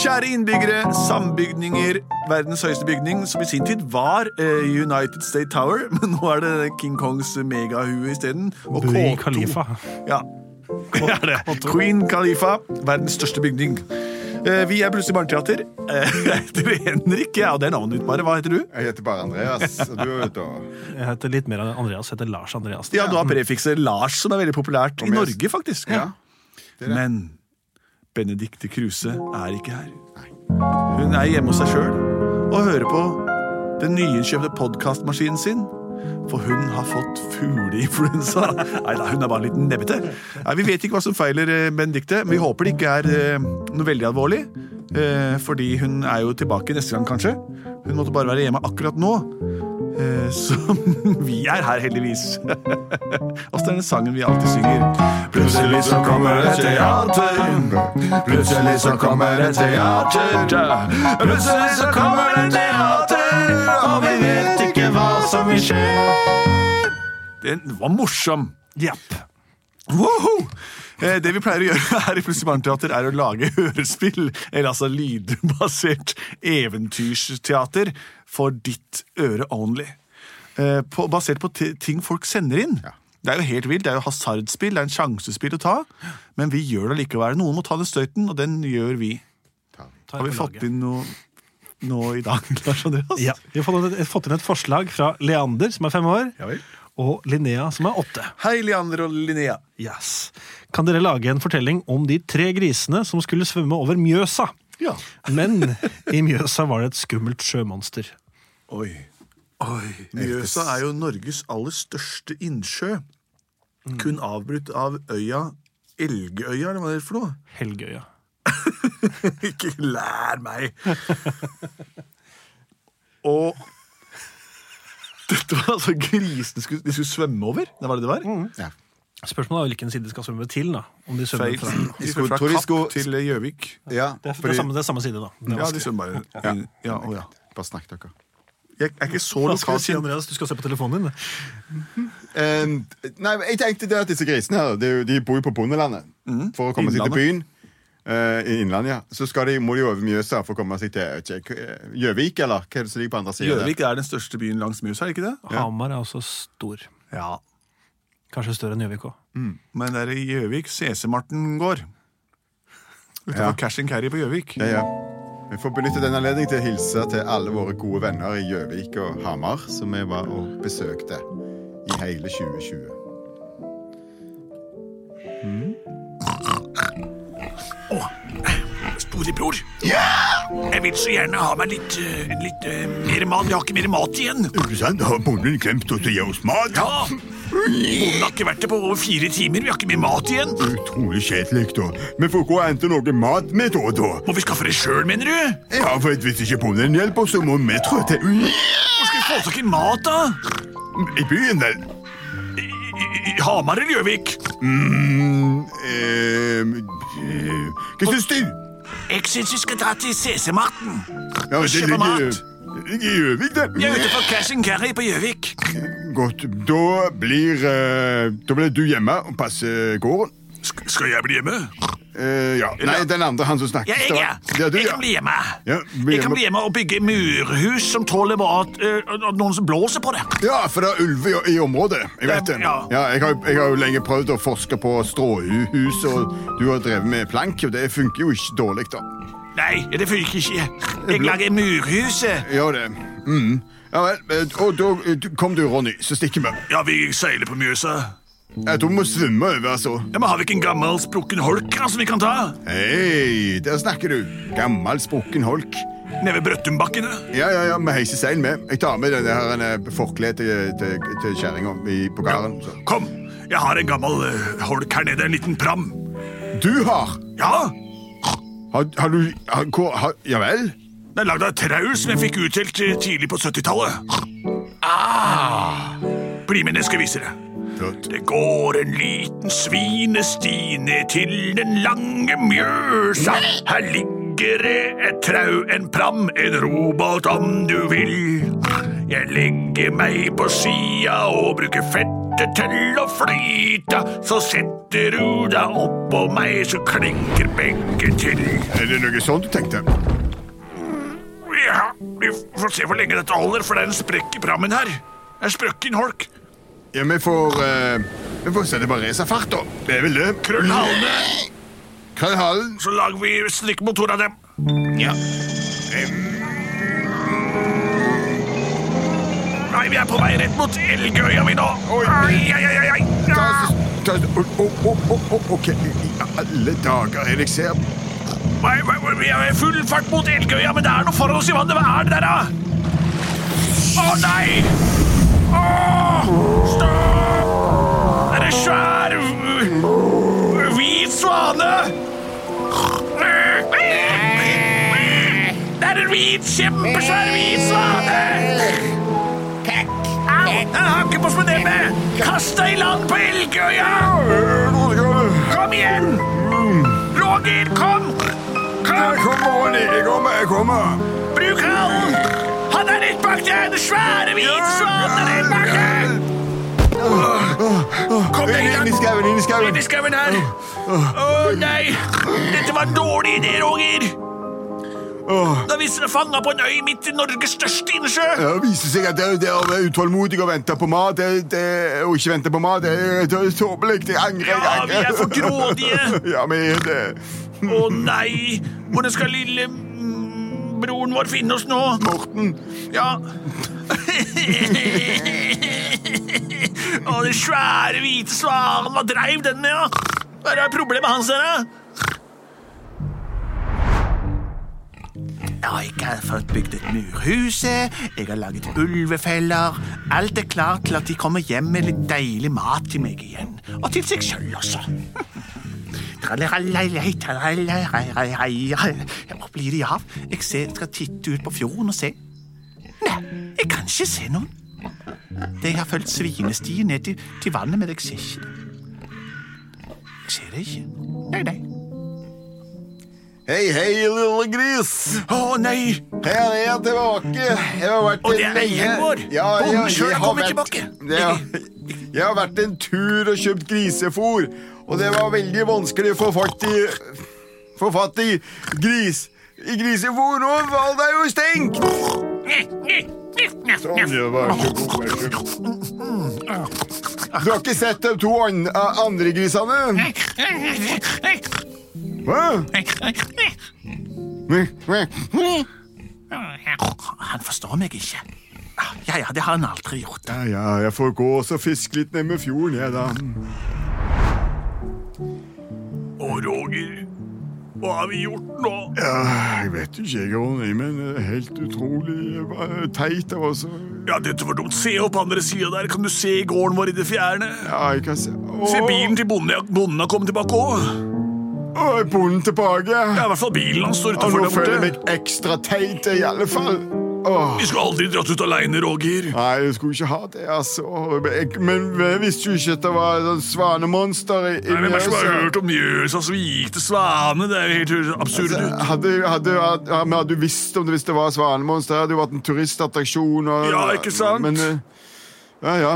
Kjære innbyggere, sambygninger, verdens høyeste bygning, som i sin tid var eh, United State Tower, men nå er det King Kongs megahue isteden. Og Burj K2. Khalifa. Ja. Det er det. Queen Khalifa, verdens største bygning. Eh, Vi er plutselig barneteater. Eh, Jeg heter Henrik, ja, og det er navnet ditt bare. Hva heter du? Jeg heter bare Andreas. Og du, da? Jeg heter litt mer enn Andreas. Jeg heter Lars Andreas. Ja, du har prefikset Lars, som er veldig populært i Om jeg- Norge, faktisk. Ja. det er det. Men Benedicte Kruse er ikke her. Hun er hjemme hos seg sjøl og hører på den nyinnkjøpte podkastmaskinen sin. For hun har fått fugleinfluensa. Nei da, hun er bare litt nebbete. Nei, Vi vet ikke hva som feiler eh, Benedicte, men vi håper det ikke er eh, noe veldig alvorlig. Eh, fordi hun er jo tilbake neste gang, kanskje. Hun måtte bare være hjemme akkurat nå. Eh, så vi er her, heldigvis. Og så er det den sangen vi alltid synger. Plutselig så kommer et teater. Plutselig så kommer et teater. Plutselig så kommer det teater, og vi vet ikke hva som vil skje. Den var morsom. Japp. Woho! Eh, Det vi pleier å gjøre her i Plutselig barneteater, er å lage hørespill, eller altså lydbasert eventyrsteater, for ditt øre only. Eh, På, basert på ti- ting folk sender inn. Det er jo helt vilt, det er jo hasardspill, det er en sjansespill å ta, men vi gjør det likevel. Noen må ta den støyten, og den gjør vi. Ta Har vi på fått laget. inn noe nå i dag, Lars Andreas? Ja. Vi har fått inn, et, fått inn et forslag fra Leander, som er fem år, og Linnea, som er åtte. Hei, Leander og Linnea. Yes. Kan dere lage en fortelling om de tre grisene som skulle svømme over Mjøsa? Ja. Men i Mjøsa var det et skummelt sjømonster. Oi. Mjøsa er jo Norges aller største innsjø. Kun avbrutt av øya Elgøya, eller hva det er for noe? Helgøya. Ikke lær meg! Og dette var altså grisene skulle, de skulle svømme over? Det var det det var? Ja. Spørsmålet er jo hvilken side de skal svømme til. da. Om de svømmer Feil. fra... De skulle fra tror de Kapp skulle- til Gjøvik. Ja, Det er, det, er fordi- samme, det er samme side, da. Det er Ja, de vanskelig. svømmer bare. Ja. Ja, å ja. Bare snakk, dere. Jeg er ikke så Hva skal du lokalt si, Andreas? Du skal se på telefonen din. Eh, nei, men jeg tenkte det at disse grisene her det, er jo- De bor jo på bondelandet. Mhm. For å komme seg til byen. eh, I Innlandet, ja. Så skal de, må de over Mjøsa for å komme seg til jeg vet ikke, eh, Gjøvik, eller hva er det som ligger på andre siden der? Gjøvik er den største byen langs Mjøsa, er det ikke det? Hamar er også stor. Ja. Kanskje større enn Gjøvik òg. Men det er i Gjøvik CC-Marten går. Ja. Utenfor Cash and Carry på Gjøvik. Ja, ja. Vi får benytte den anledning til å hilse til alle våre gode venner i Gjøvik og Hamar, som vi var og besøkte i hele 2020. Storebror, jeg vil så gjerne ha meg litt, eh, litt eh, mer mat. Jeg har ikke mer mat igjen. Ikke sant? Har bonden glemt å gi oss mat? Ja, Bonden har ikke vært der på over fire timer. Vi har ikke mer mat igjen. Utrolig kjedelig, da. Vi får gå og hente noe mat med da og da. Må vi skaffe det sjøl, mener du? Ja, for at hvis ikke bonden hjelper, så må vi trå til Hvor skal vi få tak i mat, da? i byen, vel. I, i, i Hamar eller Gjøvik? Mm, ehm, eh, hva syns du? Jeg syns vi skal dra til CC-Marten. Ja, Kjøpe ligger- mat. ligger i Gjøvik, det. Jeg er ute for Cash and Carry på Gjøvik. Godt. Da blir, eh, da blir du hjemme og passer gården. skal jeg bli hjemme? Eh, ja. Nei, den andre, han som snakker. Ja, jeg, ja. Ja, du, jeg ja. kan bli hjemme. Ja, bli jeg kan hjemme. bli hjemme og bygge murhus som tåler at, at noen som blåser på det. Ja, for det er ulver i, i området. Jeg vet det. Ja. Ja. jeg, har, jeg har jo lenge prøvd å forske på stråhus, og du har drevet med plank, og det funker jo ikke dårlig, da. Nei, det funker ikke. Jeg lager murhuset. Gjør det. Mm. Ja vel, eh, og da eh, du- kom du, Ronny, så stikker vi. Ja, vi seiler på Mjøsa. Jeg tror vi må svømme over, altså. Ja, men Har vi ikke en gammel sprukken holk da, som vi kan ta? Hei, der snakker du. Gammel sprukken holk. Nede ved Brøttumbakkene? Ja, ja, ja, vi heiser seil med. Jeg tar med det her eh, forkleet til, til, til kjerringa i- på gården. så. Kom, jeg har en gammel eh, holk her nede. En liten pram. Du har! Ja? Har, har du har, hvor- har, Ja vel? Den er lagd av trau som jeg fikk utdelt eh, tidlig på 70-tallet. Ah! Bli med ned, skal jeg vise deg. Flott. Det går en liten svinesti ned til den lange mjøsa. Her ligger det et trau, en pram, en robåt om du vil. Jeg legger meg på sida og bruker fettet til å flyte. Så setter du deg oppå meg, så klinker begge til. Er det noe sånt du tenkte? Ja, vi får se hvor lenge dette holder, for det er en sprekk i prammen her. Det er sprøkken holk. Ja, vi får eh, Vi får sette på racerfart, da. Det er vel det. Krøll halene, Krøll halen. så lager vi slikkmotor av dem. Ja. Nei, vi er på vei rett mot Elgøya vi nå. Oi. Ai, ai, ai, ai, ai. Ta oss- ta oss- Å, å, å, å, å, OK. I alle dager, er det jeg ser Nei, nei, nei, Vi er i full fart mot Elgøya, men det er noe for oss i vannet. Hva er det der, da? Å nei! Åh, stopp! Det er en svær uh, hvit svane! Det er en hvit, kjempesvær hvit svane! Au! Den hakker på spedebet! Kast deg i land på Elgøya! Kom igjen! Roger, kom! Kom! Kommer, Ronny. Jeg kommer. Jeg kommer. Bruk halen! Han er rett bak deg! Den svære hvite svanen er rett bak deg! Kom deg i Inn i gang! skauen, inn i skauen. Inn i skauen her! Å nei! Dette var en dårlig idé, Roger! Da vi er fanga på en øy midt i Norges største innsjø! Ja, Det viser seg at det, det å være utålmodig og vente på mat det, det, og ikke vente på mat, det, det er tåpelig. Jeg angrer. jeg Ja, angrer. vi er for grådige. ja, vi er det. Å nei! Hvordan skal lille mm, broren vår finne oss nå? Morten. Ja. Å, den svære hvite svanen. Hva dreiv den med, da? Hva er problemet hans, dere? Ja, jeg har fått bygd et murhus, jeg har laget ulvefeller. Alt er klart til at de kommer hjem med litt deilig mat til meg igjen. Og til seg sjøl også. Trallelalei, trallelalei. Hvor blir de av? Jeg ser, jeg skal titte ut på fjorden og se. Nei, jeg kan ikke se noen. De har fulgt svinestien ned til, til vannet, men jeg ser ikke det. Jeg ser det ikke. Nei, nei. Hei, hei, lille gris. Å nei! Her er jeg tilbake. Jeg har vært Og det en er eieren vår. Ja, jeg- Bonden selv jeg er har kommet vært- tilbake. Ja. Jeg har vært en tur og kjøpt grisefôr, og det var veldig vanskelig å få fatt i Få fatt i gris. I grisefôr nå var det jo stengt! Sånn, ja, vær så god, vær så god. Du har ikke sett de to an andre grisene? Hva? Han forstår meg ikke. Ja, ja, det har han aldri gjort. Ja, ja, jeg får gå og så fiske litt ned med fjorden, jeg, da. Å, Roger, hva har vi gjort nå? Ja, jeg vet jo ikke, jeg, Ronny, men eh, helt utrolig eh, teit av oss. Ja, dette var dumt. Se opp på andre sida der. Kan du se gården vår i det fjerne? Ja, jeg kan se Å, Se bilen til bonden. Ja, Bonden har kommet tilbake òg. Å, er bonden tilbake? Ja, i hvert fall bilen hans står Ja, utenfor nå der føler jeg borte. meg ekstra teit, eh, i alle fall. Åh. Vi skulle aldri dratt ut aleine, Roger. Nei, jeg skulle ikke ha det, altså. Jeg, men jeg visste jo ikke at det var et svanemonster i, i Nei, Hvem er det som har Mjøsa. hørt om Mjøsas hvite svane? Det er jo helt absurd. Altså, Hadde, hadde, hadde, ja, men hadde du visst om det hvis det var svanemonster, hadde det jo vært en turistattraksjon. Og, Ja, ikke sant? Men, eh, ja, ja.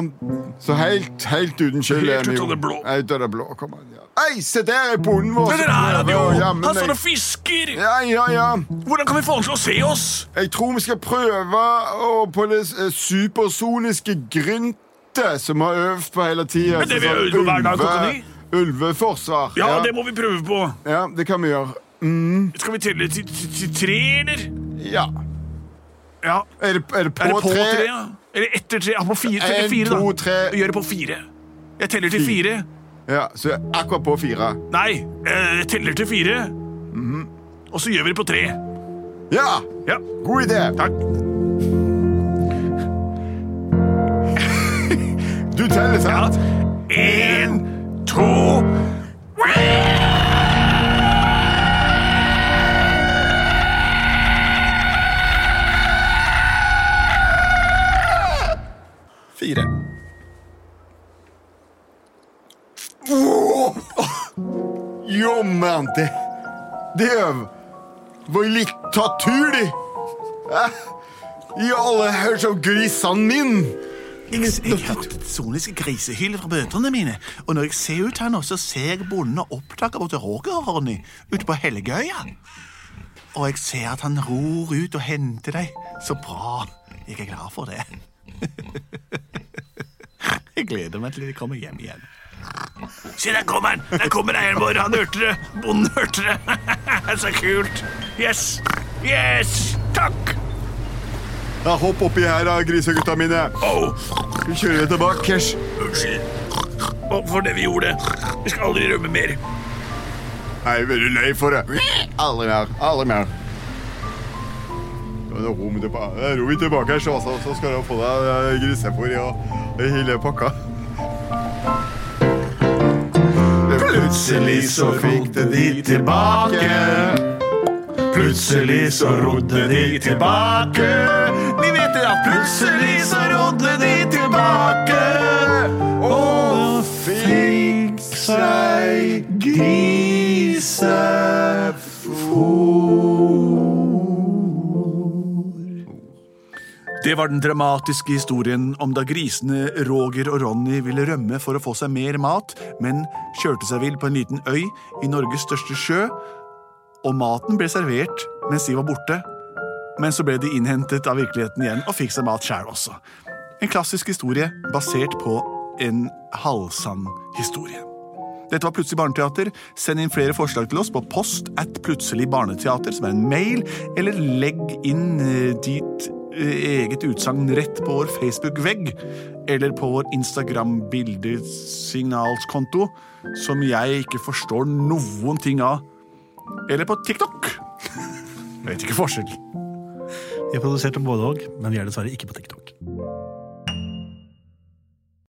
Så helt, helt uten skyld Helt er ut vi av jo. det blå. Helt ut av det blå, kom an. Ja. Ei, se der er bonden vår! Men der er han jo! Ja, men Han står og jeg- fisker! Ja, ja, ja. Hvordan kan vi få han til å se oss? Jeg tror vi skal prøve å, på det eh, supersoniske gryntet som vi har øvd på hele tida. Men det vi øver på hver dag, Kokkeny. Ulveforsvar. Ja, det må vi prøve på. ja, det kan vi gjøre. Mm, Skal vi telle til, til, til tre, eller? Ja. Ja. Er det, er det på, Er det på tre? tre? ja? Eller etter tre? Ja, på fire. En, Teller fire, da. to, tre. Vi gjør det på fire. Jeg teller til fire. Ja, så akkurat på fire. Nei, eh, jeg teller til fire. Mhm. Og så gjør vi det på tre. Ja! Ja. God idé. Takk. Du teller, sant? En, to faen, det Det er vår littatur, de! Eh, I alle hører som grisene min! Jeg, jeg hørte soniske grisehyler fra bøndene mine, og når jeg ser ut her nå, så ser jeg bonden og oppdager både Roger og Ronny ute på Helgeøya. Og jeg ser at han ror ut og henter deg. Så bra. Jeg er glad for det. Jeg gleder meg til de kommer hjem igjen. Se, der kommer han! Der kommer eieren vår. Han hørte det. Bonden hørte det. Så kult. Yes. Yes! Takk! Ja, hopp oppi her, da, grisegutta mine. Oh, Vi kjører deg tilbake. Kers. unnskyld. Og for det vi gjorde. Vi skal aldri rømme mer. Jeg er veldig lei for det. Aldri mer. Aldri mer. Ja, Nå ror vi tilba- eh, ror vi tilbake her, så, så så skal du få deg eh, grisefôr og og hele pakka. Plutselig så fikk det de tilbake. Plutselig så rodde de tilbake. Vi vet det at plutselig så rodde de tilbake. Og fikk seg Det var den dramatiske historien om da grisene Roger og Ronny ville rømme for å få seg mer mat, men kjørte seg vill på en liten øy i Norges største sjø, og maten ble servert mens de var borte. Men så ble de innhentet av virkeligheten igjen og fikk seg mat sjæl også. En klassisk historie basert på en halvsann historie. Dette var Plutselig barneteater. Send inn flere forslag til oss på post at plutselig barneteater, som er en mail, eller legg inn eh, ditt eh, eget utsagn rett på vår Facebook-vegg, eller på vår Instagram-bildesignalskonto, som jeg ikke forstår noen ting av, eller på TikTok. Jeg vet ikke forskjell. Vi er produsert av både og, men vi er dessverre ikke på TikTok.